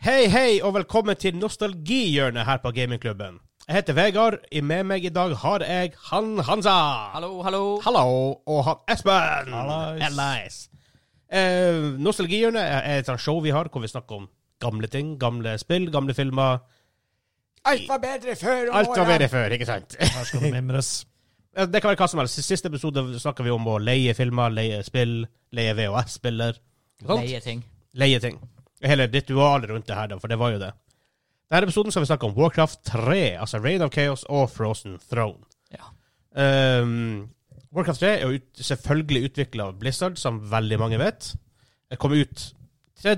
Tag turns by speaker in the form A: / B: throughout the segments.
A: Hei, hei, og velkommen til nostalgihjørnet her på Gamingklubben. Jeg heter Vegard. I med meg i dag har jeg han Hansa.
B: Hallo, hallo.
A: Hallo. Og han Espen.
C: Hallais.
A: Hallais. Eh, nostalgihjørnet er er et sånt show vi har hvor vi snakker om gamle ting, gamle spill, gamle filmer.
D: Alt var bedre før. om
A: Alt var
D: årene.
A: bedre før, ikke sant?
C: Her skal det mimres.
A: Eh, Det kan være hva som helst. I siste episode snakka vi om å leie filmer, leie spill, leie VHS-spiller.
B: Leie ting.
A: leie ting. Hele ritualet rundt det her, da, for det var jo det. Denne episoden skal vi snakke om Warcraft 3, altså Raid of Chaos og Frozen Throne.
B: Ja.
A: Ehm, Warcraft 3 er jo ut, selvfølgelig utvikla av Blizzard, som veldig mange vet. Det kom ut 3.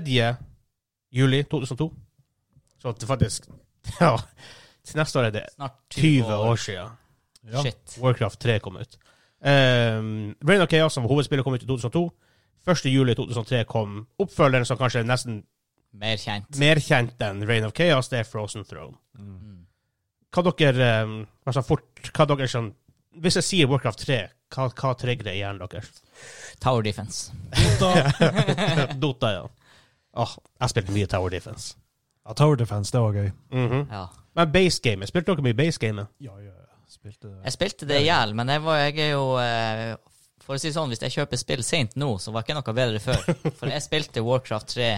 A: juli 2002. Så at det faktisk Ja, til neste år er det
B: Snart
A: 20 år siden.
C: Ja.
B: Shit.
A: Warcraft 3 kom ut. Um, Rain of Chaos, som hovedspillet, kom ut i 2002. 1. juli 2003 kom oppfølgeren som kanskje er nesten
B: Mer kjent.
A: mer kjent enn Rain of Chaos, det er Frozen Throne.
B: Mm.
A: Hva dere um, altså fort, hva dere sånn Hvis jeg sier Warcraft 3, hva, hva trigger det i hjernen deres?
B: Tower defense.
A: Dota, ja. Åh, jeg spilte mye Tower Defense.
C: Ja, Tower Defense, det var gøy.
A: Mhm.
B: Ja.
A: Men basegamet, spilte dere mye basegamet?
C: Ja, ja, spilte det.
B: Jeg spilte det i hjel, men jeg, var, jeg er jo eh, For å si det sånn, hvis jeg kjøper spill sent nå, så var ikke noe bedre før. For jeg spilte Warcraft 3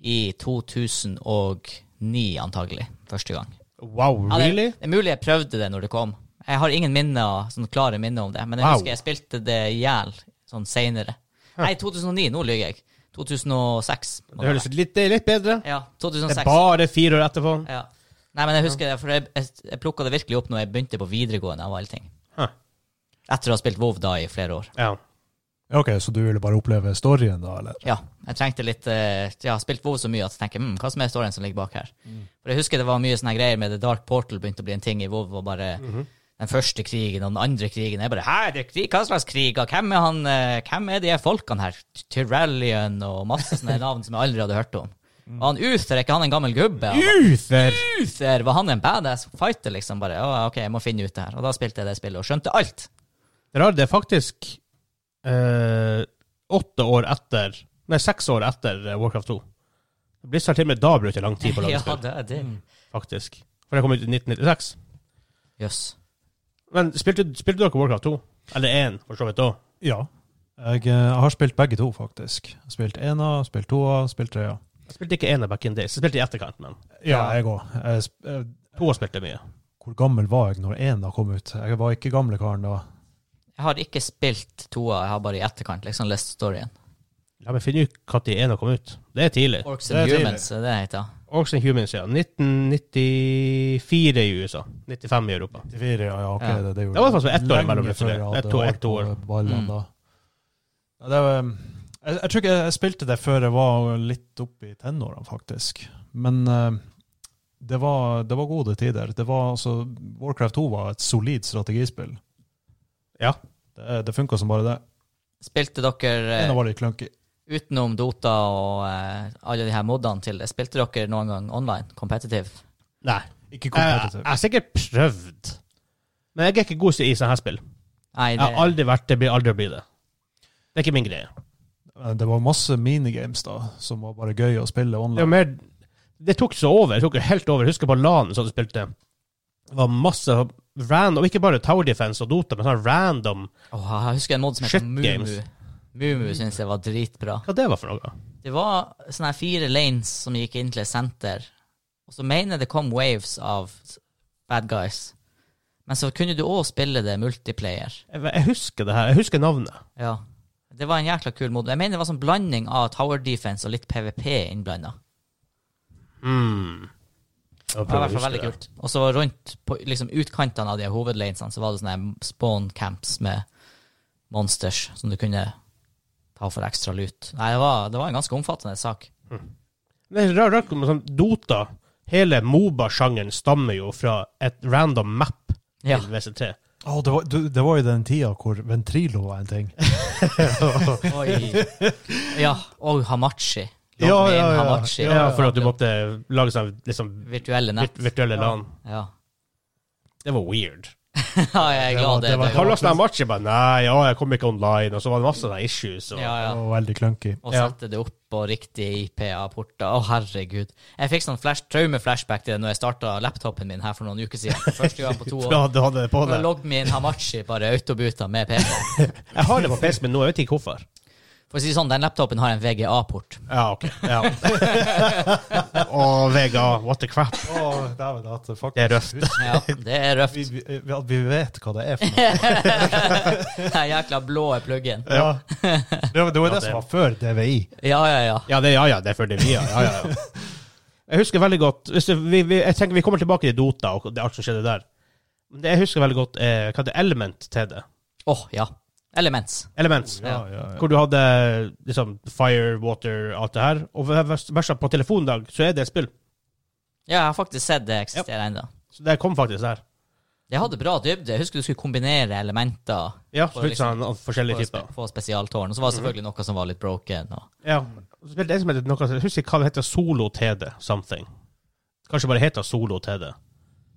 B: i 2009, antagelig. Første gang.
A: Wow,
B: Ja, det,
A: really?
B: det er mulig jeg prøvde det når det kom. Jeg har ingen minner, sånn klare minner om det, men jeg
A: Wow.
B: husker jeg spilte det i hjel sånn seinere. Nei, 2009. Nå lyver jeg. 2006. må
A: Det
B: det
A: høres litt, det er litt bedre.
B: være. Ja,
A: Det
B: 2006.
A: er bare fire år etterpå.
B: Ja. Nei, men jeg husker det, for jeg, jeg, jeg plukka det virkelig opp når jeg begynte på videregående. av alle ting.
A: Huh.
B: Etter å ha spilt WoW da i flere år.
A: Ja.
C: Ok, så du ville bare oppleve storyen da, eller?
B: Ja, jeg trengte litt eh, Jeg har spilt WoW så mye at jeg tenker hm, hva som er storyen som ligger bak her.
A: Mm.
B: For Jeg husker det var mye sånne greier med The Dark Portal begynte å bli en ting i WoW. og bare
A: Mhm.
B: Den første krigen og den andre krigen. Jeg bare Hæ, det er krig? Hva slags krig? Og hvem er han eh, Hvem er de her folkene her? Tyrellian og masse sånne navn som jeg aldri hadde hørt om. Og han Uther, er ikke han en gammel gubbe? Han bare,
A: Mm. Uther!
B: Uther, var han en badass fighter, liksom? Bare, «Å, ok, jeg må finne ut det her. Og da spilte jeg det spillet og skjønte alt.
A: Det rare det er faktisk eh, åtte år etter Nei, seks år etter eh, Warcraft 2. Blizzard til og med da brukte lang tid på å lage
B: ja,
A: spill,
B: det er det.
A: faktisk. For det kom ut i 1996.
B: Jøss.
A: Men spilte, spilte dere Warcraft 2? Eller 1, for så vidt òg?
C: Ja. Jeg, eh, har spilt begge to, faktisk. Spilt ena, spilt toa, spilt trea.
A: Jeg spilte ikke 1 back in days. Jeg spilte i etterkant, men
C: Ja, jeg òg.
A: to spilte mye.
C: Hvor gammel var jeg når ena kom ut? Jeg var ikke gamle karen da.
B: Jeg har ikke spilt toa, jeg har bare i etterkant liksom lest storyen.
A: La meg finne ut når 1 kom ut. Det er tidlig.
B: Orcs
A: Det
B: and
A: er tidlig.
B: Humans, det heter det.
A: Orcs and Humans, ja. 1994 i USA. 95 i Europa.
C: 94, ja, ja, ok,
B: Ja.
C: Det, det, gjorde
A: Det var faktisk ett år
C: lenge
A: mellom det,
C: før jeg hadde
A: ett år,
C: hår
A: ett år.
C: på ballene
B: Mm.
C: da. Ja, det var, eh, jeg, jeg tror ikke jeg spilte det før jeg var litt oppe i tenårene, faktisk. Men eh, det, var, det var gode tider. Det var, altså, Warcraft 2 var et solid strategispill.
A: Ja.
C: Det, det funka som bare det.
B: Spilte dere
C: Ena
B: eh,
C: var litt clunky.
B: utenom Dota og eh, alle de her modene til det, spilte dere noen gang online, competitive?
A: Nei.
C: Ikke
A: Eh, Jeg,
C: kompetitiv.
A: jeg har sikkert prøvd. Men jeg er ikke god i sånne her spill.
B: Nei,
A: Jeg
B: det,
A: har aldri vært det, blir aldri å bli det. Det er ikke min greie.
C: Men Det var masse minigames da, som var bare gøy å spille
A: Det, var
C: online.
A: mer, det tok så over. Det tok jo helt over. Jeg husker på LAN som du spilte. Det var masse random, ikke bare Tower Defense og Dota, men sånn random
B: Åh, jeg husker en mod som heter
A: Shit
B: Mumu.
A: games.
B: Mumu syntes jeg var dritbra.
A: Hva det var for noe?
B: Det var sånne her fire lanes som gikk inn til et senter. Og så mener jeg det kom waves av bad guys. Men så kunne du òg spille det multiplayer.
A: Jeg, jeg husker det her. Jeg husker navnet.
B: Ja. Det var en jækla kul modul. Jeg mener det var sånn blanding av Tower Defense og litt PVP innblanda.
A: Mm.
B: Det var i hvert fall veldig kult. Og så rundt på liksom utkantene av de hovedlanesene så var det sånne her spawn camps med monsters som du kunne ta for ekstra lut. Nei, det var, det var en ganske omfattende sak.
A: Det er rart, rart med sånn Dota. Hele Moba-sjangeren stammer jo fra et random map
B: Ja.
A: til WC3.
C: Å, det, var, du, det var jo den tida hvor ventrilo var en ting.
B: Oi. Ja, og Hamachi. Logg
C: Ja,
B: med inn
C: ja, ja.
B: Hamachi.
A: Ja, for at du måtte lage sånn liksom,
B: Virtuelle nett.
A: virtuelle LAN.
B: Ja.
A: Det var weird.
B: ja, jeg er
C: Det var-
B: glad det.
C: det var-
B: det var-
A: Halvdags match, jeg bare Nei, ja, jeg kom ikke online. Og så var det masse der issues. Og...
B: ja, ja.
C: Det var veldig clunky.
B: Og
A: Ja.
B: sette det opp på riktige IPA-porter. Å, herregud. Jeg fikk sånn flash, traume-flashback til det når jeg starta laptopen min her for noen uker siden. Første gang på to år.
A: Ja, du hadde det på
B: Og
A: deg.
B: Logg min Hamachi bare autobuta med PC.
A: Jeg har det på PC, men nå jeg vet ikke hvorfor.
B: For å si det sånn, den laptopen har en VGA-port.
A: Ja, ok. Ja. og Vega, what the crap.
C: Å, dæven, at det faktisk
A: Det er røft.
C: husker
B: Ja, det er røft.
C: Vi, vi, vi- at vi vet hva det er for noe.
B: Den jækla blå pluggen.
C: Ja. Det var det, var
A: Ja,
C: det
A: det-
C: som var før DVI.
B: Ja, ja, ja.
A: Ja, det, ja, ja, det er for det vi er. Ja, ja, ja. Jeg husker veldig godt hvis det, vi, vi, Jeg tenker vi kommer tilbake til Dota og det alt som skjedde der. Men det jeg husker veldig godt, eh, hva det element til det.
B: Åh, ja. Elements.
A: Elements.
C: Ja, ja, ja.
A: Hvor du hadde liksom fire, water, alt det her. Og verst verst på telefondag, så er det et spill.
B: Ja, jeg har faktisk sett det eksistere ennå.
A: Så det kom faktisk der.
B: Det hadde bra dybde. Jeg husker du skulle kombinere elementer
A: Ja,
B: For
A: så fikk
B: liksom-
A: han av
B: på,
A: forskjellige
B: spe
A: typer.
B: på spesialtårn. Og så var det
A: Mhm.
B: selvfølgelig noe som var litt broken. Og...
A: Ja. Så spilte jeg som heter noe, jeg husker ikke hva det heter, Solo TD something. Kanskje bare heter Solo TD.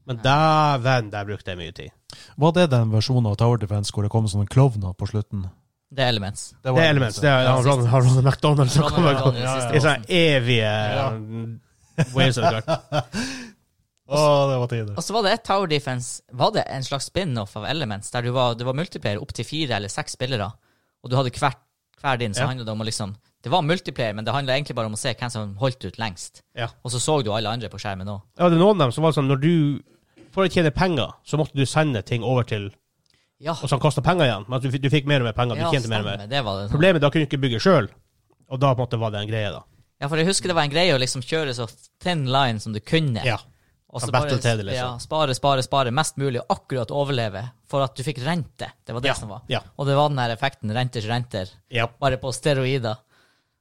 A: Men dæven, der brukte jeg mye tid.
C: Var det den versjonen av Tower Defense hvor det kom sånne klovner på slutten?
B: Det er elements.
A: Det er Elements. Det er
B: Ja,
A: han Ron-
B: siste-
A: han Ronald McDonald som
B: Ronald
A: kommer
B: McDonald,
A: i
B: siste
A: sånne evige Waves of the Guard.
C: Å, det var tider.
B: Og så var det et Tower Defense. Var det en slags spin-off av Elements, der du var, det var multiplayer opp til fire eller seks spillere, og du hadde hver, hver din, så
A: Ja.
B: handlet det om å liksom Det var multiplayer, men det handla egentlig bare om å se hvem som holdt ut lengst.
A: Ja.
B: Og så så du alle andre på skjermen òg.
A: Jeg hadde noen av dem som var sånn når du For å tjene penger, så måtte du sende ting over til
B: Ja,
A: Og som kosta penger igjen. Men at du, fikk- du fikk mer og mer penger. Du
B: ja
A: tjente mer og mer.
B: stemmer. Det var det. sånn.
A: Problemet er da kunne du ikke bygge sjøl. Og da på en måte var det en greie, da.
B: Ja, for jeg husker det var en greie å liksom kjøre så thin line som du kunne. Og så
A: Ja,
B: bare
A: battle til det, liksom.
B: ja, spare, spare, spare mest mulig, og akkurat overleve, for at du fikk rente. Det var det
A: Ja,
B: som var.
A: ja.
B: Og det var den her effekten renters renter,
A: Ja.
B: bare på steroider.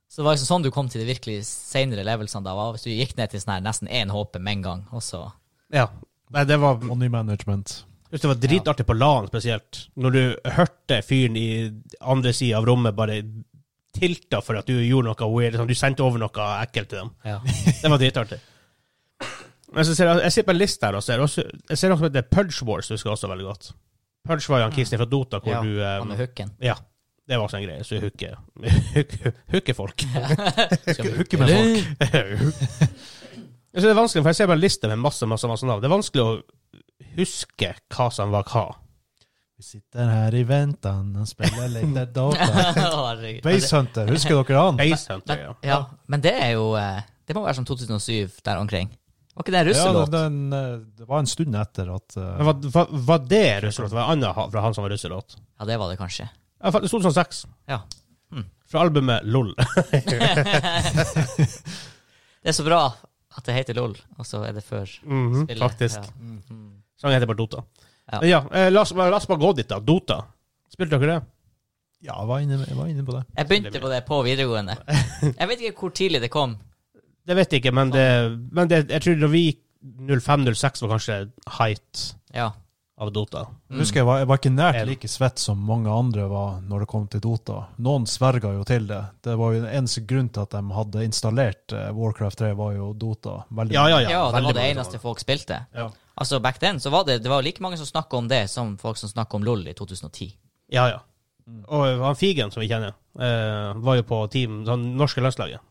B: Så det var liksom sånn du kom til de virkelig senere levelsene da, var hvis du gikk ned til sånn her nesten én HP med en gang, og så
A: ja. Nei, det var
C: Money management.
A: Jeg synes det var dritartig på LAN spesielt, når du hørte fyren i andre sida av rommet bare tilta for at du gjorde noe weird, sånn, du sendte over noe ekkelt til dem.
B: ja.
A: Det var dritartig. Men så ser jeg, jeg sitter på en liste her og ser, også, jeg ser noe som heter Pudge Wars, husker jeg også veldig godt. Pudge var jo han kisen fra Dota, hvor
B: Ja,
A: du
B: Han med
A: eh,
B: hooken.
A: Ja, det var også en greie, så jeg hooker hooker folk.
B: Skal vi
C: hooke med folk.
A: jeg synes Altså, det er vanskelig, for jeg ser bare en liste med masse, masse, masse navn. Det er vanskelig å huske hva som var hva.
C: Vi sitter her i ventan og spiller litt der data.
B: Herregud.
C: Basehunter, husker dere
B: Mm.
C: han?
A: Ace Hunter, ja.
B: Ja, men det er jo eh, Det må være sånn 2007 der omkring. Var ikke det en
C: Ja,
B: russelåt?
C: den, den, eh, det var en stund etter at eh,
A: Men var, var, var det russelåt? Var det annet ha- fra han som var russelåt?
B: ja, det var det kanskje.
A: Ja, faktisk 2006.
B: Ja.
A: sånn Mm. Fra albumet LOL.
B: Det er så bra at det heter LOL, og så er det før spillet.
A: Faktisk.
B: Mhm, Ja.
A: Sangen heter bare Dota.
B: Ja.
A: Men ja, eh, la, oss, la oss bare gå dit, da. Dota. Spilte dere det?
C: Ja, jeg var inne, jeg var inne på det.
B: Jeg begynte på det på videregående. Jeg vet ikke hvor tidlig det kom.
A: Det vet jeg ikke, men, det, men det, jeg tror når vi gikk 05-06, var kanskje height
B: Ja.
A: av Dota.
C: Jeg Husker jeg, var, jeg var ikke nært
A: En.
C: like svett som mange andre var når det kom til Dota. Noen sverga jo til det. Det var jo den eneste grunnen til at de hadde installert eh, Warcraft 3, var jo Dota. Veldig
A: Ja, ja,
B: ja,
A: ja.
B: det var
A: veldig
B: det
A: mange
B: eneste
A: som-
B: folk spilte.
A: Ja.
B: Altså, back then så var det, det var like mange som snakka om det, som folk som snakka om LOL i 2010.
A: Ja, ja. Og han Figen, som vi kjenner, eh, var jo på team, sånn norske landslaget.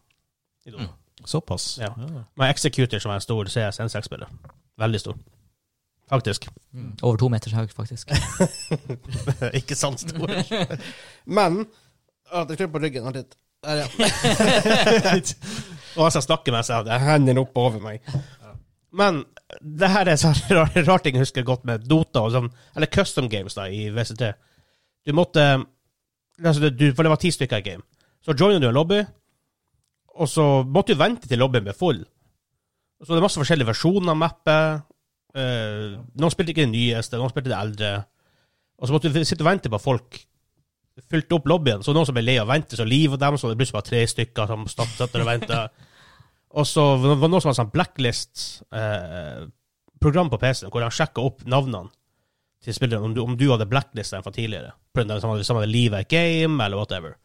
A: I Dota.
C: Såpass.
A: Ja.
C: Ja.
A: Men Executor, som er en stor CS-N6-spiller. Veldig stor. Faktisk.
B: Over to meters høy, faktisk.
A: ikke sant, stor. Men at jeg klør på ryggen. Vent litt. Der, ja. Og altså, jeg snakker med seg, det er hendene oppe over meg. Men det her er så rar, rar ting jeg husker godt med Dota, og sånn, eller custom games da, i VCT. Du måtte altså, du, For det var ti stykker i game. Så joiner du en lobby, og så måtte du vente til lobbyen ble full. Og Så det er masse forskjellige versjoner av mappet. Eh, noen spilte ikke det nyeste, noen spilte det eldre. Og så måtte du sitte og vente på at folk fylte opp lobbyen. Så noen som ble lei av å vente, så livet dem, så det plutselig var tre stykker som satt satt der og venta. Og så var det noen som hadde sånn blacklist-program på PC-en, hvor de sjekka opp navnene til spillerne, om, du- om du hadde blacklista dem fra tidligere. På grunn av Hvis de hadde livet i et game, eller whatever.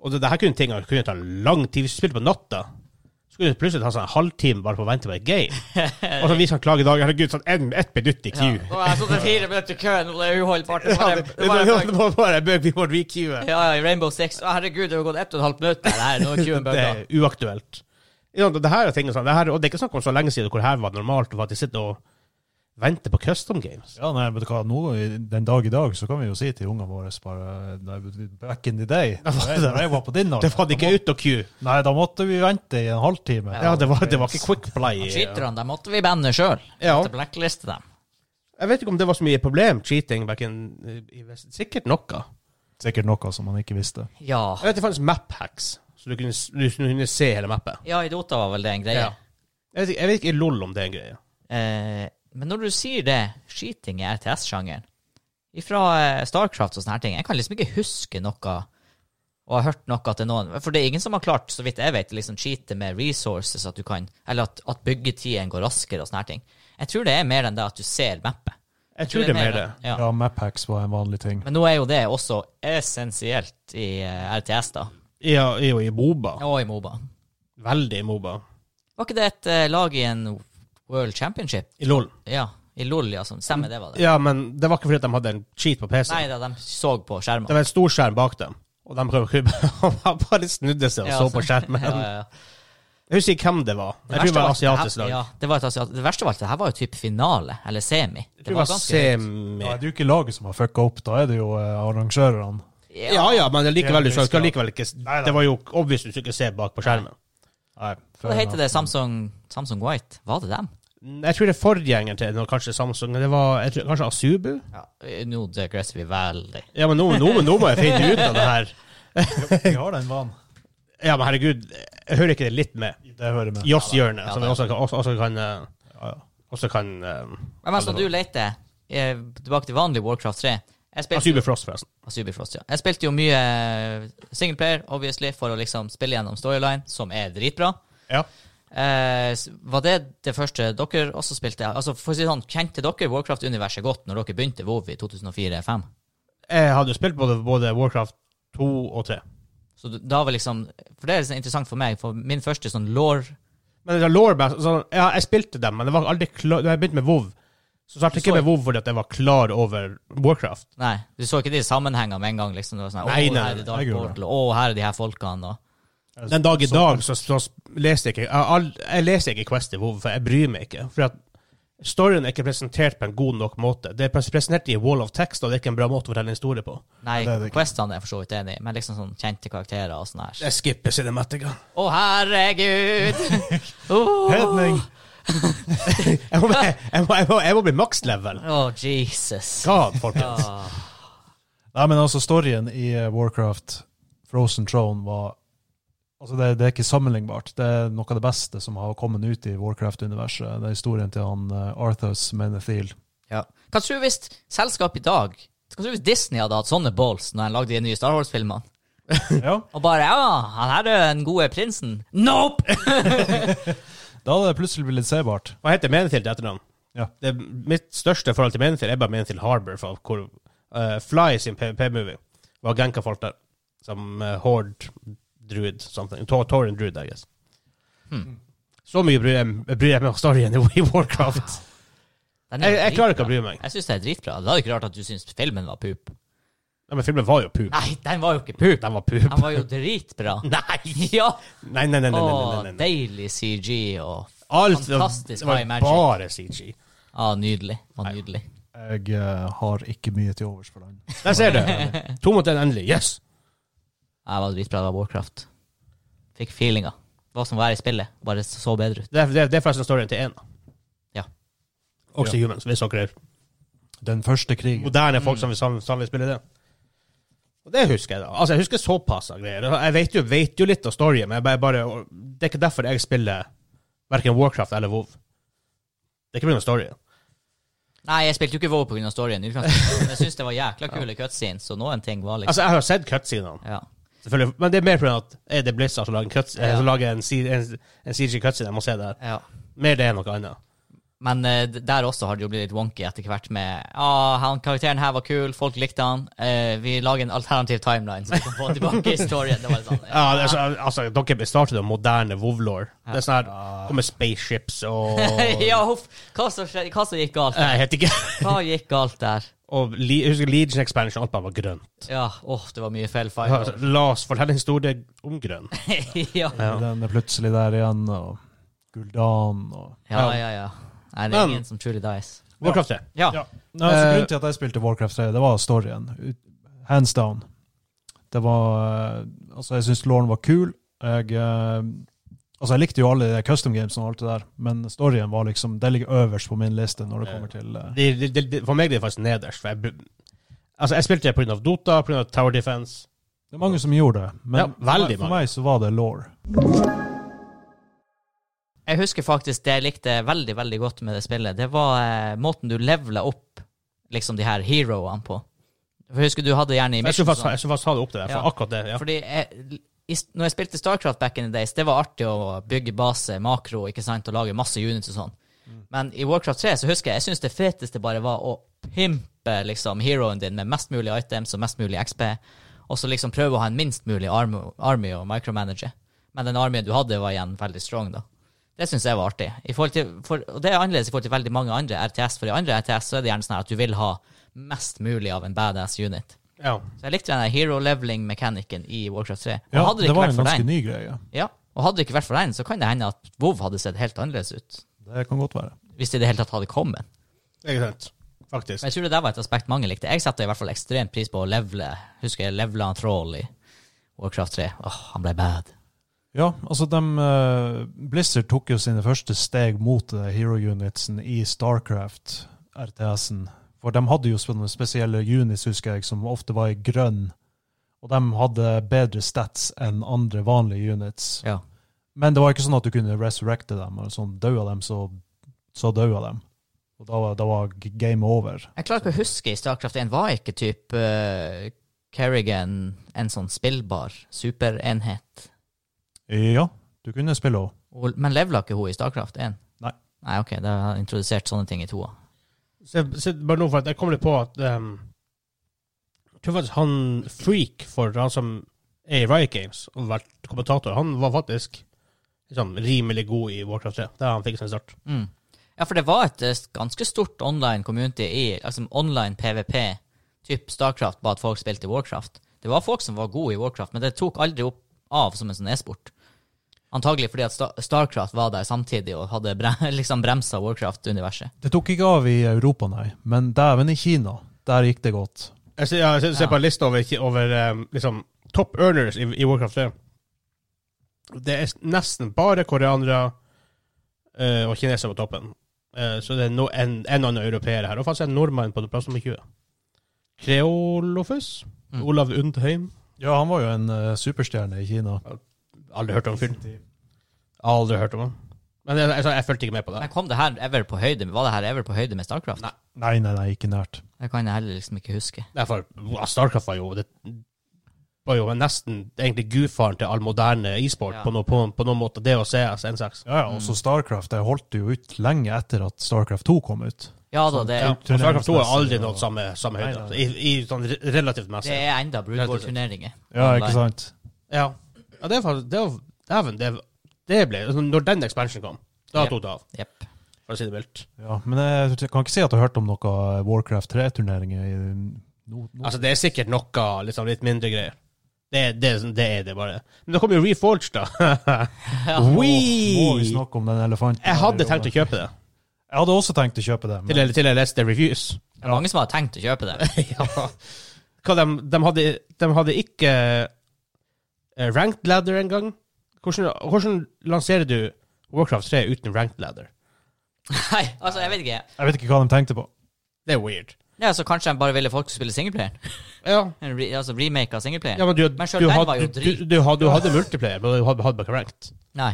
A: Og det, det her kunne ting kunne ta lang tid. Hvis du spilte på natta, så Så kunne du plutselig ta sånn en halvtime bare på å vente på et game. Og så viser han klage i dag. Herregud, sånn en, ett minutt i
B: Ja.
A: queue.
B: Nå har jeg sittet fire minutter i køen, og det er uholdbart. Det
A: Ja,
B: var-
A: det,
B: det var-
A: det må bare bøke vi får requeue.
B: Ja, ja, i Rainbow Six. Å, herregud, det har gått ett og et halvt minutt. Nei, nå er queuen
A: Det
B: bugga.
A: er uaktuelt. Ja, det her er ting, sånn, det her, og det er ikke snakk om så lenge siden hvor her var normalt å faktisk sitte og vente på custom games.
C: Ja, nei, vet du hva, nå, i- den dag i dag så kan vi jo si til ungene våre bare nei, Back in the day. Da jeg var på din alder.
A: Det var det
C: da
A: ikke
C: må-
A: ut og queue.
C: Nei, da måtte vi vente i en halvtime.
A: Ja, det var, det var ikke quick play. eh,
B: Cheaterne, dem måtte vi banne sjøl.
A: Ja.
B: Måtte blackliste dem.
A: Jeg vet ikke om det var så mye problem, cheating back in i Vesten. Sikkert noe.
C: Sikkert noe som man ikke visste.
B: Ja.
A: Jeg vet det fantes map-hacks, så du kunne, s- du kunne se hele mappet.
B: ja, i Dota var vel det en greie.
A: Ja. Jeg vet, ikke- jeg vet ikke i LOL om det er en greie.
B: Eh, men når du sier det, skyting i RTS-sjangeren Ifra eh, Starcraft og sånne her ting Jeg kan liksom ikke huske noe og har hørt noe til noen For det er ingen som har klart, så vidt jeg vet, liksom cheate med resources at du kan Eller at, at byggetiden går raskere og sånne her ting. Jeg tror det er mer enn det at du ser mappet.
A: Jeg tror det er mer det.
B: Ja.
C: Ja, Maphacks var en vanlig ting.
B: Men nå er jo det også essensielt i eh, RTS, da.
A: Ja, er jo i Moba.
B: Og i Moba.
A: Veldig i Moba.
B: Var ikke det et eh, lag i en World Championship?
A: I LOL.
B: Ja. I LOL, ja. Sånn. Stemmer det, var det?
A: Ja, men det var ikke fordi at de hadde en cheat på PC.
B: Nei da, de så på
A: Det
B: skjermen.
A: var en stor skjerm bak dem, og de prøvde å kubbe. Han bare snudde seg og
B: Ja,
A: så på skjermen.
B: Ja, ja, ja.
A: Jeg husker ikke hvem det var. Jeg tror det var et
B: verste
A: asiatisk
B: var at det her-
A: lag.
B: Ja, det, var et asiat, det verste var at det her var jo typ finale, eller semi.
A: Jeg tror det var
B: ganske høyt.
A: semi...
C: Da er det jo ikke laget som har fucka opp, da er det jo eh, arrangørene.
A: Ja ja, men likevel, du skal- skal
C: Delvis, ja.
A: likevel ikke
C: Nei, nei.
A: Det var jo obvious du skulle ikke se bak på skjermen.
C: Nei,
B: Hva heter det? Samsung, Samsung White? Var det dem?
A: Jeg tror det er forgjengeren til når kanskje Samsung Det var jeg tror, kanskje Asubu?
B: Ja. Nå digresser vi veldig.
A: Ja, men nå, nå, nå må jeg finne ut av det her.
C: Vi har den vanen.
A: Ja, men herregud, jeg hører ikke det litt med.
C: Det hører med.
A: Joss-hjørnet,
B: Ja,
A: som
B: da.
A: også, kan- også, også kan eh,
C: Ja, ja.
A: Også kan eh,
B: Men mens du leter Altså, eh, tilbake til vanlig Warcraft 3 jeg spilte,
A: Asubu Frost, forresten.
B: Asubi Frost, ja. jeg spilte jo mye singleplayer, obviously, for å liksom spille gjennom storyline, som er dritbra.
A: Ja.
B: Eh, s- var det det første dere også spilte? Altså, for å si det sånn, Kjente dere Warcraft-universet godt når dere begynte WoW i 2004-2005?
A: Jeg hadde jo spilt både, både Warcraft 2 og 3.
B: Så d- da var liksom For det er liksom interessant for meg, for min første sånn lår
A: Men det er Lawrebass sånn, ja, Jeg spilte dem, men det var aldri klar, da jeg begynte med WoW, så startet jeg ikke med WoW fordi at jeg var klar over Warcraft.
B: Nei, du så ikke de sammenhengene med en gang, liksom? Det var sånn,
A: Nei,
B: å,
A: nei,
B: her er det Dark
C: jeg gjorde
B: Portal, å, her er de her folkene, og
A: Den dag i dag så, så leser jeg ikke jeg, all, jeg leser ikke Quest i WoW, for jeg bryr meg ikke. For at storyen er ikke presentert på en god nok måte. Det er pres- presentert i Wall of Text, og det er ikke en bra måte å fortelle en historie på.
B: Nei,
C: det er det ikke.
B: Questene er jeg for så vidt enig i, men liksom sånn kjente karakterer og sånn her.
A: Jeg skipper cinematica.
B: Å, herregud! Å,
C: Hedning!
A: Jeg må, jeg, må, jeg, må, jeg må bli max level.
B: Å, Jesus.
A: God, folkens.
B: Ja.
C: Nei, men altså, storyen i eh, Warcraft Frozen Throne var Altså, det, det er ikke sammenlignbart. Det er noe av det beste som har kommet ut i Warcraft-universet. Det er historien til han eh, Arthas Menethil.
B: Ja. Hva tror du hvis selskap i dag Hva tror du hvis Disney hadde hatt sånne balls når de lagde de nye Star Wars-filmene?
C: Ja,
B: Og bare Ja, han her er den gode prinsen. Nope!
C: da hadde det plutselig blitt sebart.
A: Hva heter Menethil til etternavn?
C: Ja.
A: Det er mitt største forhold til Menethil er bare Menethil Harbor, fra hvor eh, Fly sin PP-movie var ganka folk der. Som eh, Horde Druid, something. Tor Torin Druid, I guess.
B: Hmm.
A: Så mye bryr jeg, bryr jeg meg om storyen i Warcraft.
B: Den er
A: Jeg,
B: jo
A: jeg klarer ikke
B: dritbra.
A: å bry meg.
B: Jeg syns det er dritbra. Det er jo ikke rart at du syns filmen var pup.
A: Nei, men filmen var jo poop.
B: Nei, den var jo ikke pup.
A: Den var poop.
B: Den var jo dritbra. Nei! Ja!
A: Nei, nei, nei. nei, nei, nei, nei,
B: Å,
A: nei.
B: deilig CG og
A: Alt, det var-
B: fantastisk
A: det var
B: high magic.
A: bare CG.
B: Ja, nydelig. Det var nydelig.
C: Jeg eh, har ikke mye til overs for den.
A: Der ser du. To mot én endelig. Yes!
B: Ja, det var dritbra. Det var Warcraft. Fikk feelinga. Det var som å være i spillet, bare så bedre ut.
A: Det er, det er- det er forresten storyen til én.
B: Ja.
A: Også Humans, hvis dere er
C: Den første krigen.
A: moderne folk som vil sammen, sammen vil spille det. Og det husker jeg, da. Altså, jeg husker såpass av greier. Jeg vet jo, vet jo litt av storyen, men jeg bare, bare, det er ikke derfor jeg spiller verken Warcraft eller WoW. Det er ikke pga. storyen.
B: Nei, jeg spilte jo ikke WoW pga. storyen, i utgangspunktet, men jeg syns det var jækla kule cutscenes, så noen ting var liksom
A: Altså, jeg har sett cutscenene,
B: Ja.
A: selvfølgelig, men det er mer pga. at er det Blizzard som lager en, cuts, eh,
B: Ja.
A: som lager en, C- en, en CG cutscene, jeg må se det her.
B: ja.
A: Mer det enn noe annet.
B: Men eh, d- der også har det jo blitt litt wonky etter hvert med ah, han, karakteren her var kul, folk likte han, eh, vi lager en alternativ timeline så vi kan få tilbake historien. Det var litt sånn,
A: Ja, det er så, altså, dere startet den moderne Vovlor. Det er sånn her det Kommer spaceships og
B: ja, huff. Hva som skjedde- hva som gikk galt?
A: Jeg vet ikke.
B: Hva gikk galt der?
A: Og Le- jeg husker Legion Expansion, alt bare var grønt.
B: Ja, åh, det var mye feil
A: Ja,
B: feil.
A: La oss fortelle en historie om grønn.
B: ja.
C: Den er plutselig der igjen, og Guldan og
B: ja, ja, ja. Nei, det
A: Men-
B: er ingen som truly dies.
A: Warcraft 3.
B: Ja.
C: Ja. Nei, altså,
A: Eh,
C: grunnen til at jeg spilte Warcraft 3, det var storyen. Ut- Hands down. Det var eh, Altså, jeg syns Lauren var kul. Jeg eh, Altså, jeg likte jo alle de custom games og alt det der, men storyen var liksom Det ligger øverst på min liste når det kommer til eh,
A: Det, det, det, for meg er det faktisk nederst. For jeg, br- altså, jeg spilte det pga. Dota, pga. Tower Defense.
C: Det er mange som gjorde det, men
A: Ja, veldig
C: for
A: mange.
C: meg så var det Law.
B: Jeg husker faktisk det jeg likte veldig, veldig godt med det spillet. Det var eh, måten du levela opp liksom de her heroene på. For jeg husker du hadde gjerne i
A: Jeg skulle
B: Mission
A: faktisk,
B: sånn.
A: jeg skulle faktisk ha det opp til deg, for
B: Ja.
A: akkurat det. Ja.
B: Fordi jeg, i, når jeg spilte Starcraft back in the days, det var artig å bygge base, makro, ikke sant, og lage masse units og sånn. Men i Warcraft 3 så husker jeg jeg syns det feteste bare var å pimpe liksom heroen din med mest mulig items og mest mulig XP, og så liksom prøve å ha en minst mulig army, army og micromanage. Men den armyen du hadde, var igjen veldig strong, da. Det syns jeg var artig. I forhold til, for, og det er annerledes i forhold til veldig mange andre RTS, for i andre RTS så er det gjerne sånn her at du vil ha mest mulig av en badass unit.
A: Ja.
B: Så jeg likte den der hero leveling-mekanikken i Warcraft 3. Og
C: Ja,
B: hadde det
C: det
B: ikke
C: var
B: vært
C: en
B: for
C: ganske
B: den,
C: ny greie.
B: ja, og hadde det ikke vært for den, så kan det hende at WoW hadde sett helt annerledes ut.
C: Det kan godt være.
B: Hvis det i det hele tatt hadde kommet.
A: Ikke sant. Faktisk.
B: Men jeg tror det der var et aspekt mange likte. Jeg setter i hvert fall ekstremt pris på å levele. Husker jeg levela en troll i Warcraft 3. Åh, han ble bad.
C: Ja, altså dem, eh, Blizzard tok jo sine første steg mot eh, hero unitsen i Starcraft, RTS-en. For de hadde jo sånne spesielle units, husker jeg, som ofte var i grønn. Og de hadde bedre stats enn andre vanlige units.
B: Ja.
C: Men det var ikke sånn at du kunne resurrecte dem, og sånn daua dem, så, så daua dem. Og da, var- da var g- game over.
B: Jeg klarer ikke å huske i Starcraft 1 var ikke type eh, Kerrigan en sånn spillbar superenhet.
C: Ja, du kunne spille òg.
B: Og- Men levela ikke hun i Starcraft 1?
C: Nei.
B: Nei, ok, da har jeg introdusert sånne ting i toa.
A: Så, jeg- så bare nå for at jeg kommer litt på at ehm, Jeg tror faktisk han Freak, for han som er i Riot Games, og har vært kommentator, han var faktisk liksom, rimelig god i Warcraft 3. Der han fikk sin start.
B: Mm. Ja, for det var et eh, ganske stort online community i altså online PVP, typ Starcraft, bare at folk spilte Warcraft. Det var folk som var gode i Warcraft, men det tok aldri opp av som en sånn e-sport. Antagelig fordi at Sta- Starcraft var der samtidig og hadde bre liksom bremsa Warcraft-universet.
C: Det tok ikke av i Europa, nei. Men dæven, i Kina, der gikk det godt.
A: Jeg ser, ja, jeg ser, ser
B: Ja.
A: på en liste over, over ehm, liksom, top earners i, i Warcraft 3. Det er nesten bare koreanere eh, og kinesere på toppen. Eh, så det er no, en, en annen europeer her. Og faktisk en nordmann på plass nummer 20. Kreolofus.
B: Mm.
A: Olav Undheim.
C: Ja, han var jo en eh, superstjerne i Kina.
A: Aldri hørt om fyren. Aldri hørt om han. Men jeg, jeg, jeg fulgte ikke med på det.
B: Men kom det her ever på høyde med- Var det her ever på høyde med Starcraft?
A: Nei.
C: Nei, nei, nei, ikke nært.
B: Det kan jeg heller liksom ikke huske.
A: Derfor, wow, Starcraft var jo det, var jo nesten egentlig gudfaren til all moderne e-sport
B: Ja.
A: på, noe, på, på noen måte. Det og CS, N6.
C: Ja, ja, også Starcraft det holdt jo ut lenge etter at Starcraft 2 kom ut.
B: Ja da, Altså, det,
A: Sånn, Ja, altså, og Starcraft 2 har aldri
C: turneringsmessig,
A: nådd samme, samme høyde.
C: Nei, nei.
A: I, i sånn re- relativt
B: det
A: messig.
B: er enda brudeballturneringer.
C: Ja, ikke sant?
A: Ja. ja, det er faktisk det var, Dæven, det, det ble altså, Når den expansionen kom, da
B: Ja.
A: tok det av,
B: Jepp.
A: for å si det mildt.
C: Ja, men jeg t- kan ikke si at jeg har hørt om noe Warcraft 3-turneringer i no, no.
A: Altså, det er sikkert noe liksom, litt mindre greier. Det, er- det, er sånn- det er det bare. Men da kommer jo Reforged, da.
B: Ja.
C: Må vi
A: Wee!
C: snakke om den elefanten?
A: Jeg hadde tenkt å
C: Jeg
A: kjøpe det,
C: hadde også tenkt å kjøpe det.
A: til
C: Men,
A: jeg, til jeg leste reviews.
B: Det er mange som har tenkt å kjøpe det.
A: ja. Hva, de, de, hadde, de hadde ikke eh, ranked ladder engang. Hvordan, hvordan lanserer du Warcraft 3 uten ranked ladder?
B: Nei, altså, jeg vet ikke.
C: jeg vet ikke hva de tenkte på.
A: Det er weird.
B: Ja, så kanskje de bare ville folk skulle spille singleplayer?
A: Ja,
B: En Re, altså remake av singleplayer?
A: ja men du,
B: Men
A: du,
B: selv den
A: had,
B: var jo
A: du,
B: drit.
A: du, du, had- du hadde multiplayer, men du hadde, hadde bare ikke ranked.
B: Nei.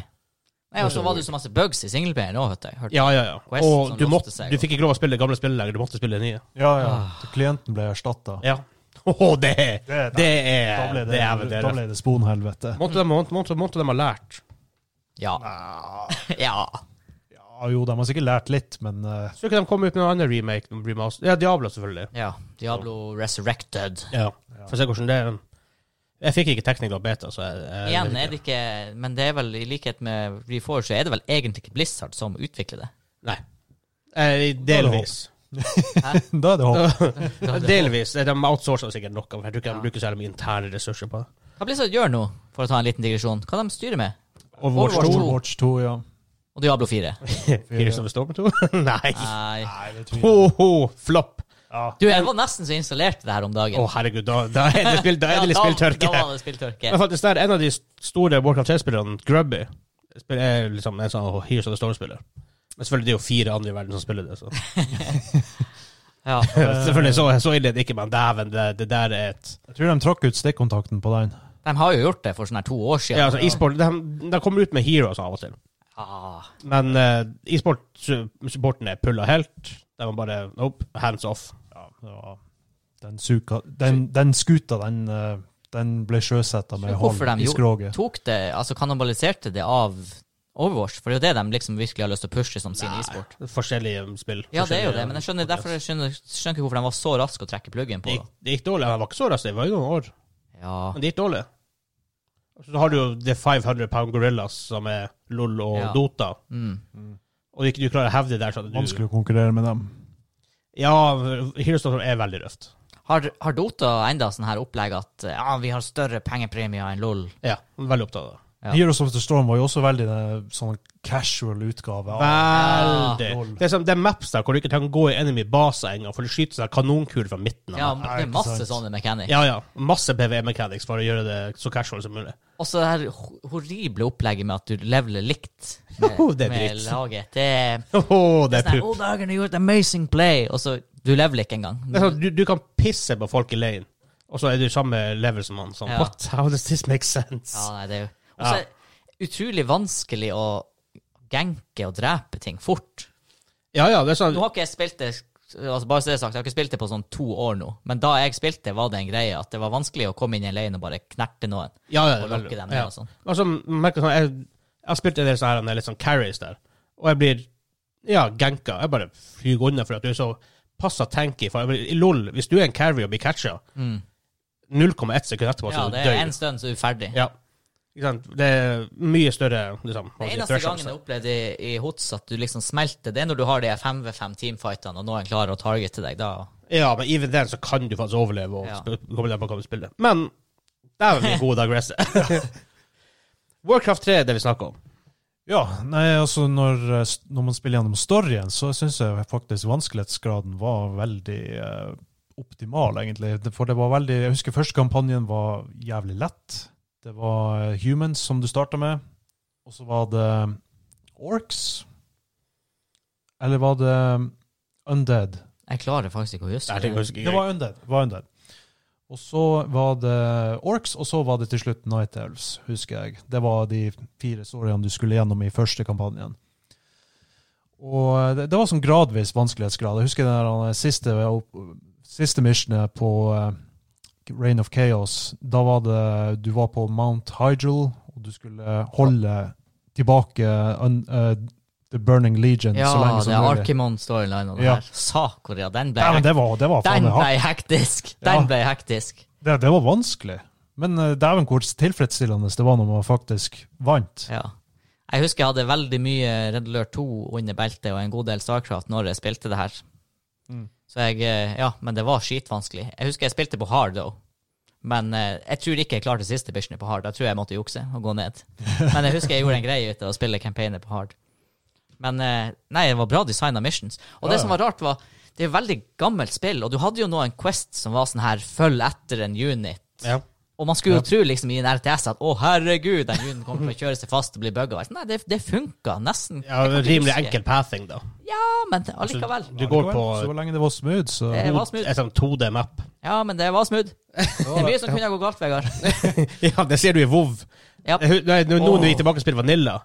B: Nei, Og
A: Også
B: så var det jo så masse bugs i singleplayeren òg, hørte jeg. Hørte.
A: Ja, ja, ja.
B: Quest
A: Og
B: som
A: du,
B: låste
A: måtte,
B: seg,
A: du
B: og-
A: fikk ikke lov å spille gamle spill lenger, du måtte spille nye.
C: Ja, ja. Klienten ble erstatta.
A: Ja. Åh, det, det,
C: Det- Da
A: er
C: ble
A: Det
C: det,
A: er vel det.
C: da ble det sponhelvete.
A: Måtte de, måtte, måtte, måtte de ha lært?
B: Ja. ja.
C: Ja, Ja, jo, de har sikkert lært litt, men eh,
A: Så ikke de kom ut med noen annen remake? Noen remaster. Ja, Diablo, selvfølgelig.
B: Ja. Diablo Resurrected.
A: Ja. Får se hvordan det er. Jeg fikk ikke Technical Beta, så jeg, jeg
B: Igjen
A: vet
B: er det ikke Men det er vel i likhet med Reforge, så er det vel egentlig ikke Blizzard som utvikler det.
A: Nei. Eh, delvis.
C: da er det håp.
A: Delvis. De outsourcer sikkert noe. for Jeg tror ikke de bruker særlig mye interne ressurser på det.
B: Hva Blizzard gjør nå, for å ta en liten digresjon, hva de styrer med?
A: Overwatch
B: Overwatch
A: 2.
B: to.
C: Overwatch 2, ja.
B: Og Diablo 4.
A: Heroes of the Storm 2? Nei.
B: Nei.
C: Nei, det tror jeg.
A: Ho, ho, flopp.
B: Du, jeg var nesten så installert det her om
A: Å,
B: dagen.
A: herregud, da, da er det, spill, da er det litt
B: Ja,
A: spilltørke.
B: Da, da var det spilltørke.
A: Men faktisk, der, en av de store Warcraft 3-spillerne, Grubby, spill- er liksom en sånn Heroes of the Storm-spiller. Men selvfølgelig det er jo fire andre i verden som spiller det. Så.
B: Ja.
A: selvfølgelig så, så ille er det ikke, men dæven, det, det der er et
C: Jeg tror de trakk ut stikkontakten på den.
B: De har jo gjort det for sånn her to år siden.
A: Ja, altså, e-sport de, de kommer ut med heroes av og til.
B: Ah,
A: Men eh, e-sport-supporten er pulla helt. De var bare nope, hands off.
C: Ja, det var- den, suka, den, den skuta, den, eh, den ble sjøsetta med
B: Så
C: hånd
B: hvorfor de
C: i
B: gjorde-
C: skroget.
B: tok det, altså kannibaliserte det av Overwatch, for det er jo det de liksom virkelig har lyst til å pushe som sin e-sport.
A: Forskjellige spill.
B: Ja, det er jo
A: forskjellige-
B: det, men jeg skjønner derfor jeg skjønner, skjønner ikke hvorfor de var så raske å trekke pluggen
A: Det
B: på.
A: gikk, det gikk dårlig. Han var ikke så rask, det var jo noen år.
B: Ja,
A: Men det gikk dårlig. Og Så har du jo The 500 Pound Gorillas, som er LOL og
B: Ja.
A: Dota.
B: mm.
A: Og ikke du klarer å hevde det der, så hadde du
C: Vanskelig å konkurrere med dem.
A: Ja, Heroes of the Storm er veldig røft.
B: har, har Dota enda sånn her opplegg at eh, ja, vi har større pengepremier enn LOL?
A: Ja, veldig opptatt av det.
B: Ja.
C: Heroes of the Storm var jo også veldig eh, sånn casual utgave. av-
A: Veldig.
C: Ja.
A: Det er, som, det er maps der hvor du ikke kan gå i enemy-baser engang, for du skyter sånn kanonkuler fra midten.
B: Ja,
A: av
C: nei,
B: det er
C: ikke
B: masse
C: sant.
B: sånne mechanics.
A: Ja, ja. Masse PVE-mechanics for å gjøre det så casual som mulig.
B: Og så det her ho- horrible opplegget med at du leveler likt med,
A: Jo, det er
B: med
A: dritt.
B: laget. Det er
A: Åh, det er
B: sånn her,
A: pup.
B: oh, Dagen, du gjorde et amazing play, og så Du leveler ikke engang.
A: Det er sånn, du, du kan pisse på folk i lane, og så er du samme level som han. Sånn,
B: Ja.
A: What? How does this make sense?
B: Ja, nei, det er jo Og
A: Ja.
B: så er det utrolig vanskelig å genke og drepe ting fort.
A: Ja, ja, det er sånn
B: Nå har ikke jeg spilt det Altså bare så det er sagt, Jeg har ikke spilt det på sånn to år nå, men da jeg spilte, det, var det en greie at det var vanskelig å komme inn i en lane og bare knerte noen.
A: Ja, ja,
B: Og
A: vel-
B: lokke dem ned
A: ja.
B: og sånn.
A: Altså, merker sånn, jeg, jeg har spilt en del sånne her, litt sånn carries der, og jeg blir ja, genka. Jeg bare flyr unna for at du er så passa tanky. For jeg blir, I LOL, hvis du er en carry og blir catcha, 0,1 sekund etterpå,
B: Mm. Ja,
A: så
B: det
A: dør
B: er
A: du.
B: en stund, så er du ferdig.
A: Ja. Ikke sant? Det er mye større liksom, hva skal
B: Den
A: jeg si,
B: eneste gangen
A: threshold.
B: jeg opplevde i, i Hots at du liksom smelter, det er når du har de 5v5 teamfightene, og noen klarer å targete deg. Da
A: Ja, men even then så kan du faktisk overleve og
B: Ja.
A: sp- komme deg på å spille. Men der er vi gode aggressor. Warcraft 3 er det vi snakker om.
C: Ja, nei, altså når, eh, s- når man spiller gjennom storyen, så syns jeg faktisk vanskelighetsgraden var veldig eh, optimal, egentlig. Det- For det var veldig Jeg husker første kampanjen var jævlig lett. Det var eh, humans som du starta med, og så var det orcs. Eller var det um, undead?
B: jeg klarer faktisk ikke å huske
A: Det,
B: det.
A: det,
C: Det var undead. det var undead. Og så var det orcs, og så var det til slutt Night Elves, husker jeg. Det var de fire storyene du skulle gjennom i første kampanjen. Og det, det var sånn gradvis vanskelighetsgrad. Jeg husker den der, eh, siste, siste missionet på eh, Reign of Chaos. Da var det Du var på Mount Hyjal, og du skulle holde tilbake un, eh, The Burning Legion
B: Ja,
C: så lenge
B: det
C: som
B: er
C: mulig.
B: Arkimon-storyline og det
C: Ja.
B: her. Sakoria, den ble
C: Ja, men det var, det var faen
B: Den
C: meg hardt.
B: ble hektisk!
C: Ja.
B: Den ble hektisk.
C: Det, det var vanskelig. Men eh, dæven hvor tilfredsstillende det var når man faktisk vant.
B: Ja. Jeg husker jeg hadde veldig mye Red Alert 2 under beltet og en god del Starcraft når jeg spilte det her. Så jeg eh, Ja, men det var skitvanskelig. Jeg husker jeg spilte på hard, though. Men eh, jeg tror ikke jeg klarte siste missionet på hard. Da tror jeg jeg måtte jukse og gå ned. Men jeg husker jeg gjorde en greie ut av å spille campaigner på hard. Men eh, nei, det var bra design av missions. Og det som var rart, var det er jo veldig gammelt spill, og du hadde jo nå en Quest som var sånn her følg etter en unit.
A: ja.
B: Og man skulle jo tro liksom i en RTS at å herregud, den hunden kommer til å kjøre seg fast og bli bugga. Nei, det, det funka nesten.
A: ja,
B: Jeg kan ikke
A: rimelig
B: huske.
A: enkel pathing, da.
B: Ja, men allikevel.
A: Du går på
C: Så lenge det var smooth, så
B: Det var smooth.
A: en sånn 2D-map.
B: Ja, men det var smooth. Det er mye som kunne gå galt, Vegard.
A: Ja, det ser du i WoW.
B: Ja.
A: Jeg hu- Nei, nå nå når vi gikk tilbake og spilte Vanilla,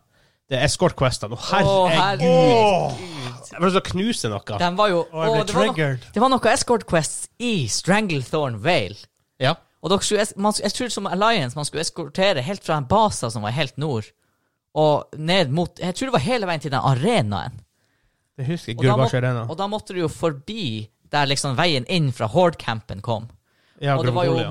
A: det er escort-questene. Å,
B: Å,
A: herregud!
B: herregud.
A: Jeg ble så knuse noe.
B: Den var jo
C: Å,
B: å, det, var
C: jeg ble
B: noe,
C: triggered.
B: det var noe Escort Quests i Stranglethorn Vale.
A: Ja.
B: Og dere skulle, es- man, skulle- jeg tror som Alliance man skulle eskortere helt fra en base som var helt nord, og ned mot Jeg tror det var hele veien til den arenaen.
A: Det husker jeg.
B: Og da må-
A: Gurbash Arena.
B: Og da måtte du jo forbi der liksom veien inn fra hordcampen kom.
A: Ja,
B: Og det var jo
A: Gurbash,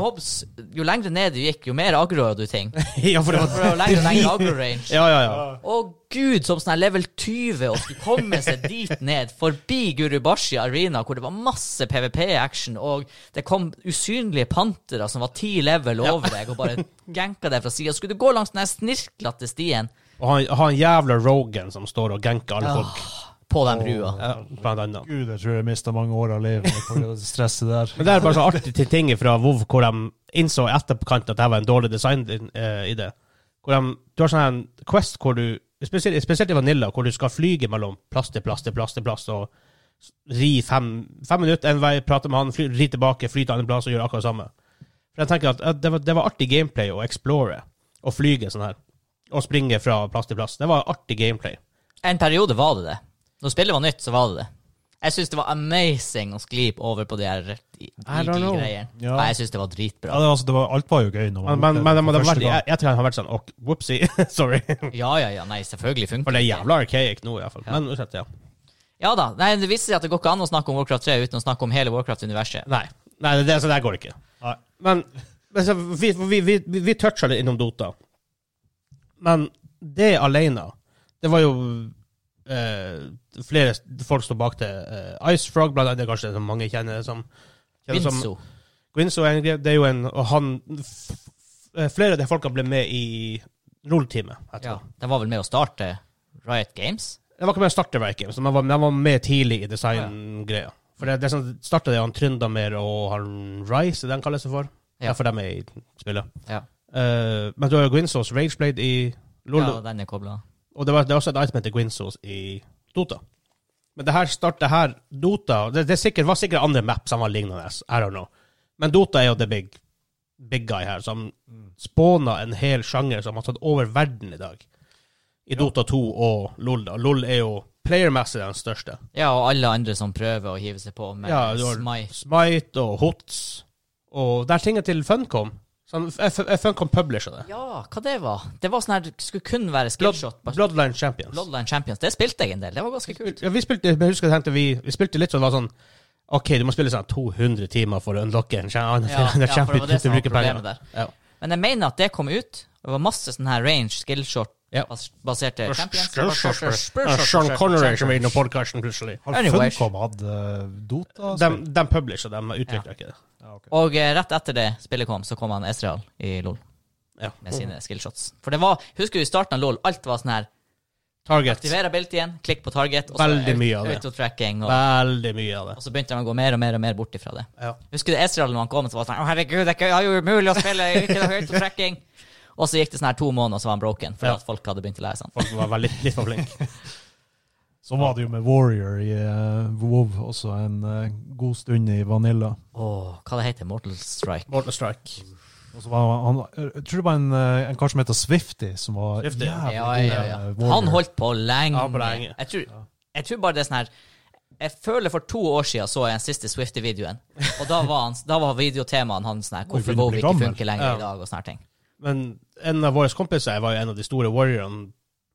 B: mobs Jo lengre ned du gikk, jo mer aggro du ting.
A: ja. ja, for det
B: For det
A: var
B: var lengre og lengre aggro-range.
A: Ja, ja, ja.
B: Å gud, som sånn her level 20 og skulle komme seg dit ned, forbi Gurubashi Arena, hvor det var masse PVP-action, og det kom usynlige pantere som var ti level over deg, og bare ganka deg fra sida. Skulle du gå langs den her snirklete stien
A: Og han, han jævla Rogan som står og genker alle folk.
B: på den brua?
A: Ja, blant annet.
C: Gud, jeg tror jeg mista mange år av livet på grunn av det stresset der.
A: Men det er bare så artig ting fra WoW hvor de innså i etterkant at det var en dårlig design eh, i det. Hvor de, du har sånn her en quest hvor du, spesielt, spesielt i Vanilla, hvor du skal flyge mellom plass til plass til plass til plass, og ri fem, fem minutter en vei, prate med han, fly, ri tilbake, fly til andre plass og gjøre akkurat det samme. For jeg tenker at eh, det var, det var artig gameplay å explore, og flyge sånn her. Og springe fra plass til plass. Det var artig gameplay.
B: En periode var det det. Når spillet var nytt, så var det det. Jeg syns det var amazing å skli over på de her i-
A: I don't know.
B: greiene.
C: Ja.
B: Nei, Jeg syns det var
C: Ja,
B: dritbra.
C: det, var- altså, det var, alt var jo gøy. Når
A: Men, men,
C: man
A: men,
C: gjorde det
A: men det
C: for
A: har
C: første
A: vært, i
C: gang.
A: etterkant har det vært sånn ok, whoopsie, sorry.
B: Ja, ja, ja. Nei, selvfølgelig funker
A: For det er jævla archaic nå, i hvert fall. Men uansett, ja.
B: Ja da. Nei, det viser seg at det går ikke an å snakke om Warcraft 3 uten å snakke om hele Warcraft-universet.
A: Nei, nei det, så der går det ikke.
C: Nei.
A: Men men så, vi, vi, vi, vi- vi toucha litt innom Dota. Men det alene Det var jo eh, flere folk sto bak det. Eh, Ice Frog, blant annet, det er kanskje det som mange kjenner det som. kjenner som-
B: Vinzo.
A: Winzo er en greie. Det er jo en Og han f, f, Flere av de folka ble med i rulleteamet.
B: Ja,
A: etterpå.
B: de var vel med å starte Riot Games?
A: Jeg var ikke med å starte verket, men de var, de var med tidlig i designgreia. For det, det som starta det, han Tryndamer og han Rice, er det han kalles for.
B: Ja.
A: Ja. Derfor de er med i spillet.
B: Ja,
A: Eh, men du har jo Gwinsos Rageblade i LOL,
B: ja den er kobla.
A: og det, var, det er også et item til Gwinsos i Dota. Men det her starter her Dota Det, det er sikkert, var sikkert andre maps som var lignende, I don't know. Men Dota er jo the big, big guy her, som spåna en hel sjanger som har tatt over verden i dag. I Dota 2 og LOL. da. LOL er jo playermessig den største.
B: Ja, og alle andre som prøver å hive seg på med
A: Ja, du har
B: Smite.
A: Smite og HOTS, og der tinga til Funcom. Sånn, F- F- Funcom publisher det.
B: Ja, hva det var? Det var sånn her Skulle kun være
A: Blood,
B: skillshot. bare-
A: Bloodline Champions.
B: Bloodline Champions. Det spilte jeg en del. Det var ganske kult.
A: Ja, vi spilte, jeg husker jeg tenkte vi, vi spilte litt sånn, det var sånn Ok, du må spille sånn 200 timer for å unlocke en kjern.
B: Ja, ja, for det var det som var problemet der.
A: Ja.
B: Men jeg mener at det kom ut. og Det var masse sånn her range, skillshot
A: Ja.
B: bas- baserte champions.
A: Ja, Sean Connery som var inne på podkasten plutselig.
C: Har
B: Anyway.
C: Funcom hatt eh, Dota?
A: De, de publisher, de utvikler ikke det.
C: Ja, ok.
B: Og eh, rett etter det spillet kom, så kom han Ezreal i LOL
A: Ja.
B: med sine skillshots. For det var Husker du i starten av LOL, alt var sånn her
A: Target.
B: Aktiver ability igjen, klikk på target, og
A: Veldig
B: aut-
A: mye av det.
B: auto-tracking, og,
A: Veldig mye av det.
B: og så begynte de å gå mer og mer og mer bort ifra det.
A: Ja.
B: Husker du Ezreal når han kom, så var det sånn Å, herregud, det er ikke- det er jo umulig å spille, ikke noe auto-tracking. Og så gikk det sånn her to måneder, og så var han broken, fordi
A: Ja.
B: at folk hadde begynt å lære seg han.
A: Folk var veldig, litt for flinke.
C: Sånn var det jo med Warrior i eh, WoW også en eh, god stund i Vanilla.
B: Åh, hva det heter Mortal Strike?
A: Mortal Strike.
C: Og så var han, jeg tror det var en, eh, en kar som heter Swifty, som var
A: Swifty.
C: jævlig
B: Ja,
C: god,
B: ja, ja.
C: eh, Warrior.
B: Han holdt på lenge.
A: Ja, på lenge.
B: Jeg, tror, jeg tror bare det er sånn her Jeg føler for to år siden så jeg den siste Swifty-videoen. Og da var, han, da var videotemaen hans sånn her
C: Oi,
B: Hvorfor
C: begynner å
B: WoW
C: bli
B: ikke
C: gammel.
B: funker lenger
A: Ja.
B: i dag, og sånne her ting.
A: Men en av våre kompiser var jo en av de store warriorene,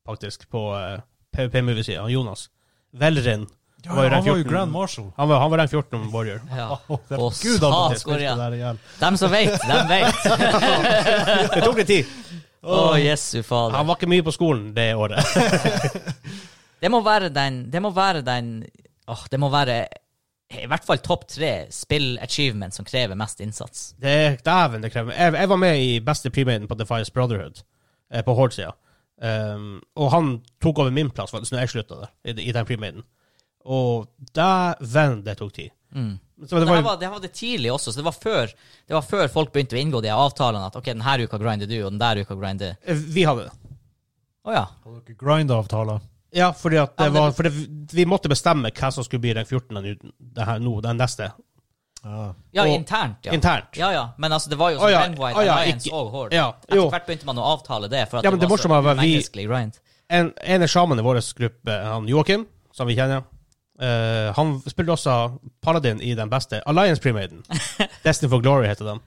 A: faktisk, på uh, PVP-moviesida. Jonas. Velrin.
C: Ja, ja, han var jo
A: 14.
C: Grand Marshal.
A: Han var, han var den 14 warrior.
B: Ja.
C: Å, det-
B: Å,
C: Gud, han
B: satan,
C: hadde spilt det
B: Korea.
C: der ihjel.
B: Dem som vet, dem vet.
A: Det tok litt tid.
B: Å, jesu fader.
A: Han var ikke mye på skolen det året.
B: Det må være den Det må være den Åh, det må være i hvert fall topp tre spill-achievement som krever mest innsats.
A: Det er dæven det krever. Jeg, jeg var med i beste premaden på Defias Brotherhood, eh, på Horde-sida. Um, og han tok over min plass for- så når jeg slutta der, i, i den premaden. Og dæven, det tok tid. Så det var,
B: Det her
A: jo-
B: var, det her var det tidlig også, så det var før, det var før folk begynte å inngå de avtalene at ok, denne uka grinder du, og den der uka grinder
A: eh, vi hadde det.
B: Å ja.
C: Hadde dere Grind-avtaler.
A: Ja, fordi at
B: Ja,
A: det
B: men det-
A: var, fordi vi måtte bestemme hva som skulle bli den 14. nu- det her nå, den neste.
C: Ja.
B: Ja,
A: Og-
B: internt, ja.
A: Internt.
B: Ja, ja, men altså, det var jo
A: Å
B: sånn
A: ja,
B: Trendwide
A: å ja,
B: Alliance
A: ikke-
B: og Horde.
A: Ja,
B: Etter
A: jo.
B: hvert begynte man å avtale det, for at
A: Ja, men
B: det
A: det
B: var så
A: morsomme var vi-
B: umenneskelig grind.
A: En, en av sjamen i vår gruppe, han Joakim, som vi kjenner, eh, han spilte også Paladin i den beste Alliance Premaden. Destiny for Glory heter den.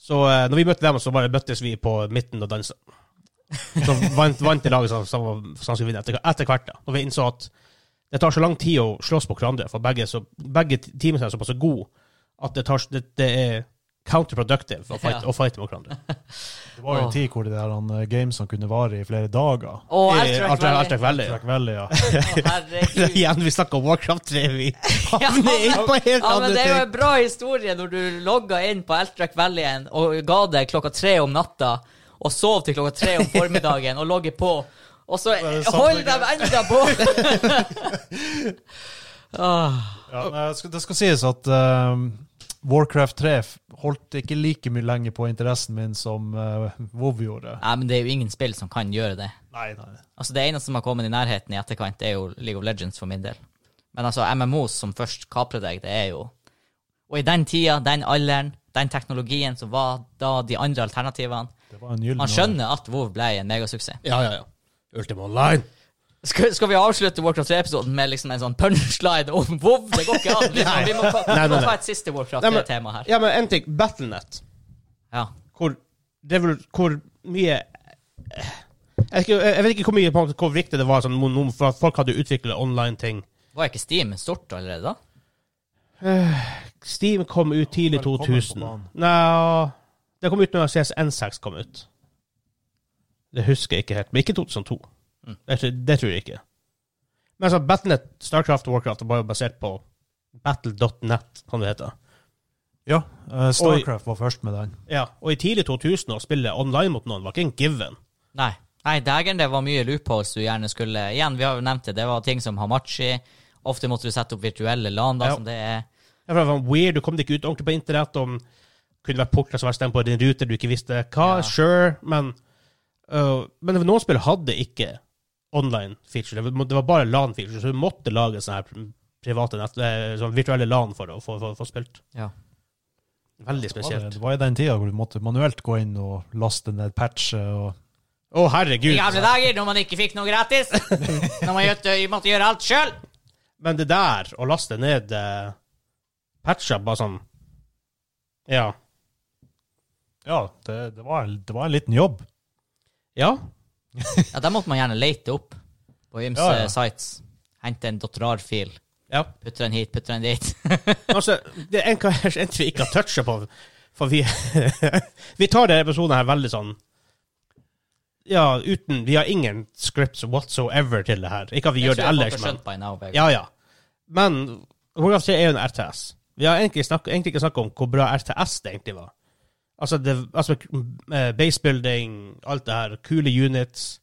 A: Så eh, når vi møtte dem, så bare møttes vi på midten og dansa. Så vant, vant det laget som, som, som skulle vinne etter, etter hvert. da. Og vi innså at det tar så lang tid å slåss mot hverandre, for begge, så, begge teamene er såpass gode at det, tar, det, det er counterproductive å fighte,
B: Ja.
A: å fighte mot hverandre.
C: Det var jo en
B: Åh.
C: tid hvor de der han, eh, gamesene kunne vare i flere dager.
B: Å,
A: Eh,
B: Altrak
A: Altrak- Altrak
B: Valley.
A: Valley.
C: Track Valley, ja.
B: Å, herregud.
A: Igjen, vi snakker om Warcraft 3. Vi
B: Ja,
A: havner inn på helt
B: Ja,
A: andre
B: men det er jo
A: ting.
B: en bra historie når du logga inn på Altrak Valley igjen og ga deg klokka tre om natta, og sov til klokka tre om formiddagen, og logger på, og så
C: er det
B: holder de
C: samme
B: Ah. enda på! Åh,
C: Ja, men jeg skal- det skal sies at eh, Warcraft 3 f- holdt ikke like mye lenge på interessen min som eh, WoW gjorde.
B: Nei, men det er jo ingen spill som kan gjøre det.
C: Nei, nei.
B: Altså, det eneste som har kommet i nærheten i etterkant, det er jo League of Legends for min del. Men altså, MMOs som først kaprer deg, det er jo Og i den tida, den alderen, den teknologien som var da, de andre alternativene
C: Det var en gyllen
B: Man skjønner at WoW ble en megasuksess.
A: Ja, ja, ja. Ultima Online.
B: Skal, skal vi avslutte Warcraft 3-episoden med liksom en sånn punchline om WoW? Det går ikke an! Vi må, vi må, ta,
A: Nei, nei,
B: vi må
A: nei.
B: ta et siste Warcraft
A: Nei, men-
B: 3-tema her.
A: Ja, men en ting. Battlenet.
B: Ja.
A: Hvor, det er vel, hvor mye jeg, vet ikke- jeg vet ikke hvor mye på en måte, hvor viktig det var, sånn, monom- for at folk hadde utvikla online-ting.
B: Var ikke Steam stort allerede da?
A: Steam kom ut tidlig
C: Velkommen på
A: 2000.
C: banen.
A: Nei, det kom ut når CSN6 kom ut. Det husker jeg ikke helt, men ikke 2002.
B: Mm.
A: Det, tror- det tror jeg ikke. Men altså, Battlenet, Starcraft og Warcraft var jo basert på battle.net, som det heter.
C: Ja, eh, Starcraft var først med den.
A: Ja, og i tidlig 2000 å spille online mot noen var ikke en given.
B: Nei. Nei, Dægeren, det var mye loopholes du gjerne skulle Igjen, vi har jo nevnt det. Det var ting som Hamachi. Ofte måtte du sette opp virtuelle LAN, da,
A: Ja.
B: som det er.
A: Ja, for Det var weird, du kom deg ikke ut ordentlig på internett, om kunne vært porter som var stengt på din rute, du ikke visste hva,
B: Ja.
A: sure, men øh, Men noen spill hadde ikke online feature, det var- det var bare LAN-feature, så du måtte lage sånne her private nett, eh, sånn virtuelle LAN for å få, få, få spilt.
B: Ja.
A: Veldig
C: Det var, det-
A: spesielt.
C: det var i den tida hvor du måtte manuelt gå inn og laste ned patcher og
A: Å,
B: I
A: herregud.
B: gamle dager, når man ikke fikk noe gratis. Når man gjø- måtte gjøre alt sjøl.
A: Men det der, å laste ned eh, patcher, bare sånn Ja.
C: Ja, det, det, var, det var en liten jobb.
A: Ja,
B: Ja, da måtte man gjerne lete opp på ymse
C: Ja, ja.
B: sites. Hente en .rar-fil.
A: Ja.
B: Putte den hit, putte den dit.
A: Altså, det er en kanskje en vi ikke har toucha på, for vi Vi tar denne episoden her veldig sånn Ja, uten Vi har ingen scripts whatsoever til det her. Ikke at vi gjør det ellers, men
B: men
A: Ja, ja. Men Warcraft 3 er jo en RTS. Vi har egentlig, snakket, egentlig ikke snakka om hvor bra RTS det egentlig var. Altså, det, altså eh, basebuilding, alt det her, kule units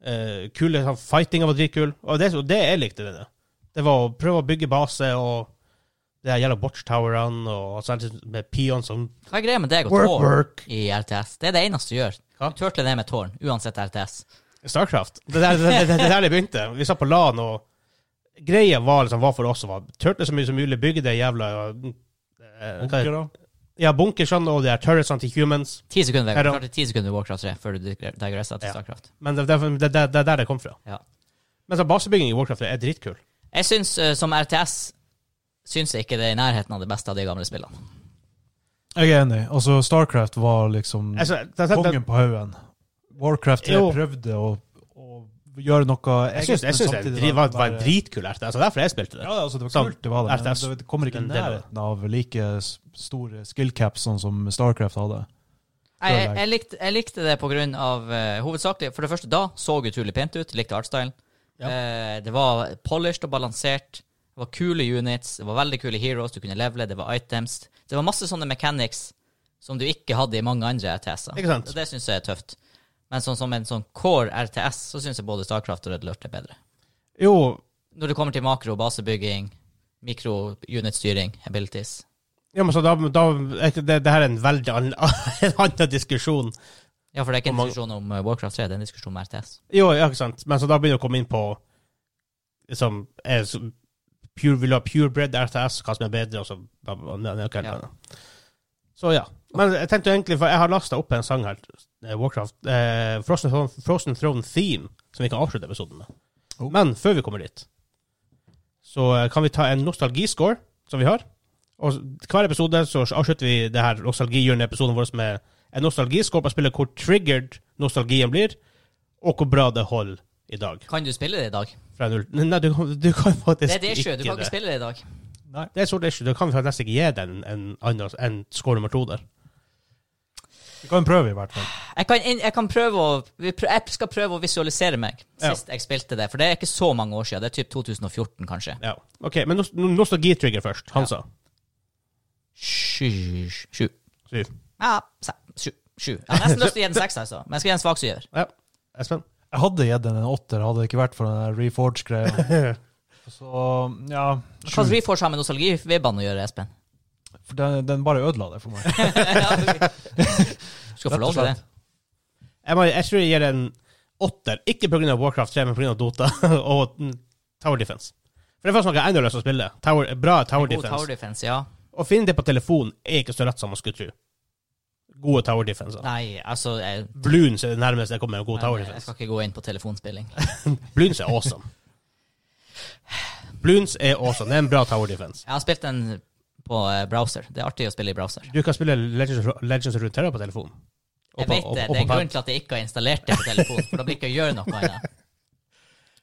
A: eh, Kule sånn, Fightinga var dritkul. Og det, og det jeg likte med det, det var å prøve å bygge base og det her gjelder watchtowerne og altså, med peon som
B: Hva er greia med deg og
A: Work,
B: tårn
A: work.
B: i RTS? Det er det eneste du gjør.
A: Hva?
B: Du Turtle ned med tårn, uansett RTS.
A: Starcraft. Det er der det, det, det, der det begynte. Vi satt på LAN, og greia var, liksom, var for oss å turtle så mye som mulig, bygge det jævla eh, hva er det?
C: Bunkere.
A: Ja, bunkersene og de her turretsene sånn, til humans.
B: Ti sekunder
A: Her da.
B: klarte ti sekunder Warcraft 3 før du digresser til
A: Ja.
B: Starcraft.
A: Men det det er det- det er der det kom fra.
B: Ja.
A: Men så basebygging i Warcraft er dritkul.
B: Jeg syns, eh, som RTS, syns jeg ikke det er i nærheten av det beste av de gamle spillene.
C: Jeg er enig. Altså, Starcraft var liksom
A: Altså, det, det, det,
C: kongen på haugen. Warcraft 3
A: Jo.
C: prøvde å, å gjøre noe
A: jeg syns jeg
C: men
A: syns det
C: samtidig
A: dri- var, var sånn, en
C: bare-
A: dritkul RTS. Altså, derfor jeg spilte det.
C: Ja, altså, det var
A: Som
C: kult, det var det.
A: RTS.
C: Men det kommer ikke i
A: Den delen av det.
C: nærheten av like s- store skill caps sånn som Starcraft hadde.
B: Jeg, jeg, jeg, likte, jeg likte det på grunn av eh, Hovedsakelig, for det første, da så utrolig pent ut. Likte artstylen.
A: Ja.
B: Eh, det var polished og balansert. Det var kule units, det var veldig kule heroes, du kunne levele, det var items. Det var masse sånne mechanics som du ikke hadde i mange andre RTS-er.
A: Ikke sant?
B: Og det syns jeg er tøft. Men sånn som en sånn core RTS, så syns jeg både Starcraft og Red Alert er bedre.
A: Jo,
B: Når det kommer til makro, basebygging, mikro-unit-styring, abilities.
A: ja, men så da, da er ikke- det, det her er en veldig annen, en annen diskusjon.
B: Ja, for det er ikke
A: Og
B: en
A: mange-
B: diskusjon om eh, Warcraft 3, det er en diskusjon om RTS.
A: Jo, ja, ikke sant. Men så da begynner vi å komme inn på liksom, er, så, pure, Vil du ha purebred RTS, hva som er bedre, og så bla, bla, bla, ne- ok,
B: Ja.
A: ne- ne. Så ja. Men jeg tenkte egentlig, for jeg har lasta opp en sang her, eh, Warcraft, eh, Frozen, Throne- Frozen Throne Theme, som vi kan avslutte episoden med.
C: Oh.
A: Men før vi kommer dit, så eh, kan vi ta en nostalgiscore som vi har. Og s- hver episode så avslutter vi det her nostalgihjørnet-episoden vår med en nostalgiscore på spillet hvor triggered nostalgien blir, og hvor bra det holder i dag.
B: Kan du spille det i dag?
A: Fra null. Nei, du, du kan faktisk
B: Det er det ikke. Du kan ikke
A: det.
B: spille det i dag.
C: Nei.
A: Det er et stort issue. Da kan vi nesten ikke gi den en, annen- en score nummer to der.
C: Vi kan prøve, i hvert fall.
B: Jeg kan, inn- jeg kan prøve å vi prø- Jeg skal prøve å visualisere meg
A: Ja.
B: sist jeg spilte det, for det er ikke så mange år siden. Det er typ 2014, kanskje.
A: Ja. OK, men nos- no- nostalgitrigger først. Han sa
B: Sju Sju.
A: syv.
B: Ja, se- sju. Sju. Jeg har nesten lyst til å gi den seks, altså. Men jeg skal gi en svak syver.
A: Ja. Espen?
C: Jeg hadde gitt den en åtter, hadde det ikke vært for den der reforge-greia. Så, ja
B: Hva
C: sju.
B: Reforge har med nostalgivibbene å gjøre, Espen?
C: For den, den bare ødela det for meg.
B: du skal få
C: Rett og
B: lov til det.
C: slett.
A: Jeg, må, jeg tror jeg gir en åtter. Ikke pga. Warcraft 3, men pga. Dota og mm, Tower Defense. For det første man kan enda løse å spille. Tower, bra Tower
B: God
A: Defense.
B: tower defense, ja.
A: Å finne det på telefonen er ikke så lett som man skulle tro. Gode Tower Defense.
B: Nei, altså jeg,
A: Bloons er det nærmeste jeg kommer med en god Tower
B: jeg, jeg
A: Defense.
B: skal ikke gå inn på telefonspilling.
A: Bloons er awesome. Bloons er awesome. Det er en bra Tower Defense.
B: Jeg har spilt den på eh, browser. Det er artig å spille i browser.
A: Du kan spille Legends, of- Legends of Runeterra på telefonen. Og
B: Jeg
A: på-
B: vet
A: og-
B: det.
A: og på
B: Det er en
A: pad.
B: grunn til at jeg ikke har installert det på telefon, for da blir det ikke å gjøre noe annet.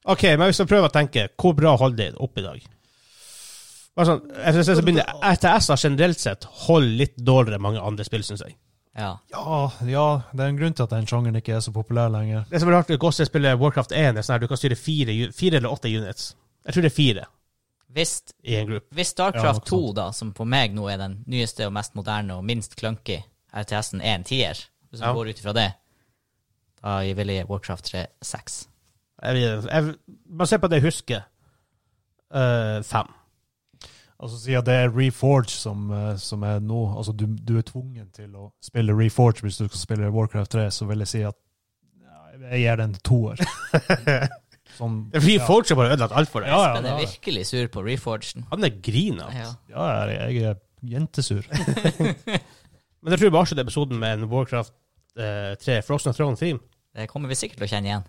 A: Ok, men hvis jeg prøver å tenke, hvor bra holder det opp i dag? Bare sånn, jeg synes jeg så begynner, RTS har generelt sett holdt litt dårligere enn mange andre spill, synes jeg.
B: Ja.
C: Ja, ja, det er en grunn til at den sjangeren ikke er så populær lenger.
A: Det som er rart med Gosse spiller Warcraft 1, er sånn her, du kan styre fire, ju- fire eller åtte units. Jeg tror det er fire
B: Hvis,
A: i en gruppe.
B: hvis
C: Ja,
B: Starcraft
C: nok sant.
B: 2, da, som for meg nå er den nyeste og mest moderne og minst clunky RTS-en, er en tier, hvis man
A: Ja.
B: går ut ifra det, da vil jeg gi Warcraft 3 seks.
A: Jeg, vet- jeg, basert på det jeg husker, øh, fem.
C: Altså Siden det er reforge som, eh, som er nå, altså du, du er tvungen til å spille reforge hvis du skal spille Warcraft 3, så vil jeg si at ja, jeg gir den en toer. Sånn,
A: Det er Fordi folk har bare ødelagt alt for deg.
C: Ja, ja,
B: Men jeg
C: ja.
B: er virkelig sur på Reforgen.
A: Han er grina.
B: Ja.
C: ja jeg jeg er jentesur.
A: Men jeg tror bare ikke det er episoden med en Warcraft eh, 3 Frozen Throne-theme.
B: Det kommer vi sikkert til å kjenne igjen.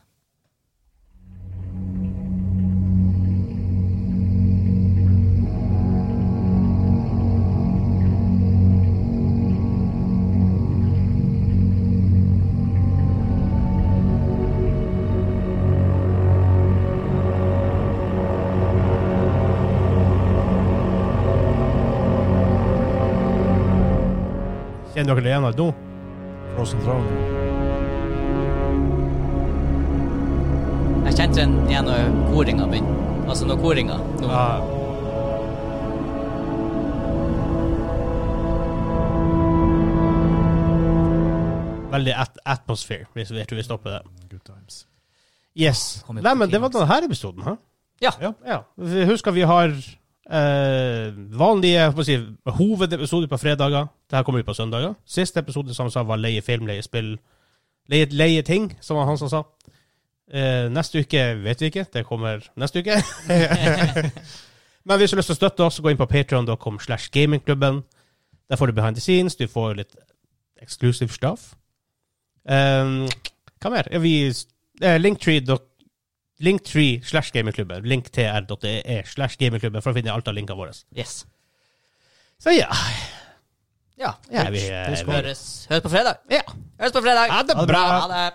A: Kjenner dere det igjen av nå?
C: Frozen Throne.
B: Jeg kjente den igjen når koringa begynte. Altså når koringa nå.
A: Veldig at atmosphere, hvis vi, jeg tror vi stopper det.
C: Good times.
A: Yes.
B: Kom igjen,
A: Nei, men det var
B: klimaks.
A: denne her episoden, hæ?
B: Ja.
C: Ja.
A: Ja. Vi- Husk at vi har eh, vanlige jeg holdt på å si, hovedepisoder på fredager. Dette kommer ut på søndager. Siste episode, som han sa, var leie film, leie spill, leie, leie ting, som var han som sa. Eh, neste uke vet vi ikke. Det kommer neste uke. Men hvis du har lyst til å støtte oss, gå inn på patreon.com slash gamingklubben. Der får du behind the scenes, du får litt exclusive stuff. Um, hva mer? Ja, vi, eh, linktree dot- Linktree slash gamingklubben. Linktr.ee E slash gamingklubben for å finne alt av linkene våre.
B: Yes.
A: Så ja.
B: Ja.
A: ja vi, eh,
B: Høres. Høres på fredag.
A: Ja.
B: Høres på fredag.
A: Ha det bra.
B: Ha det.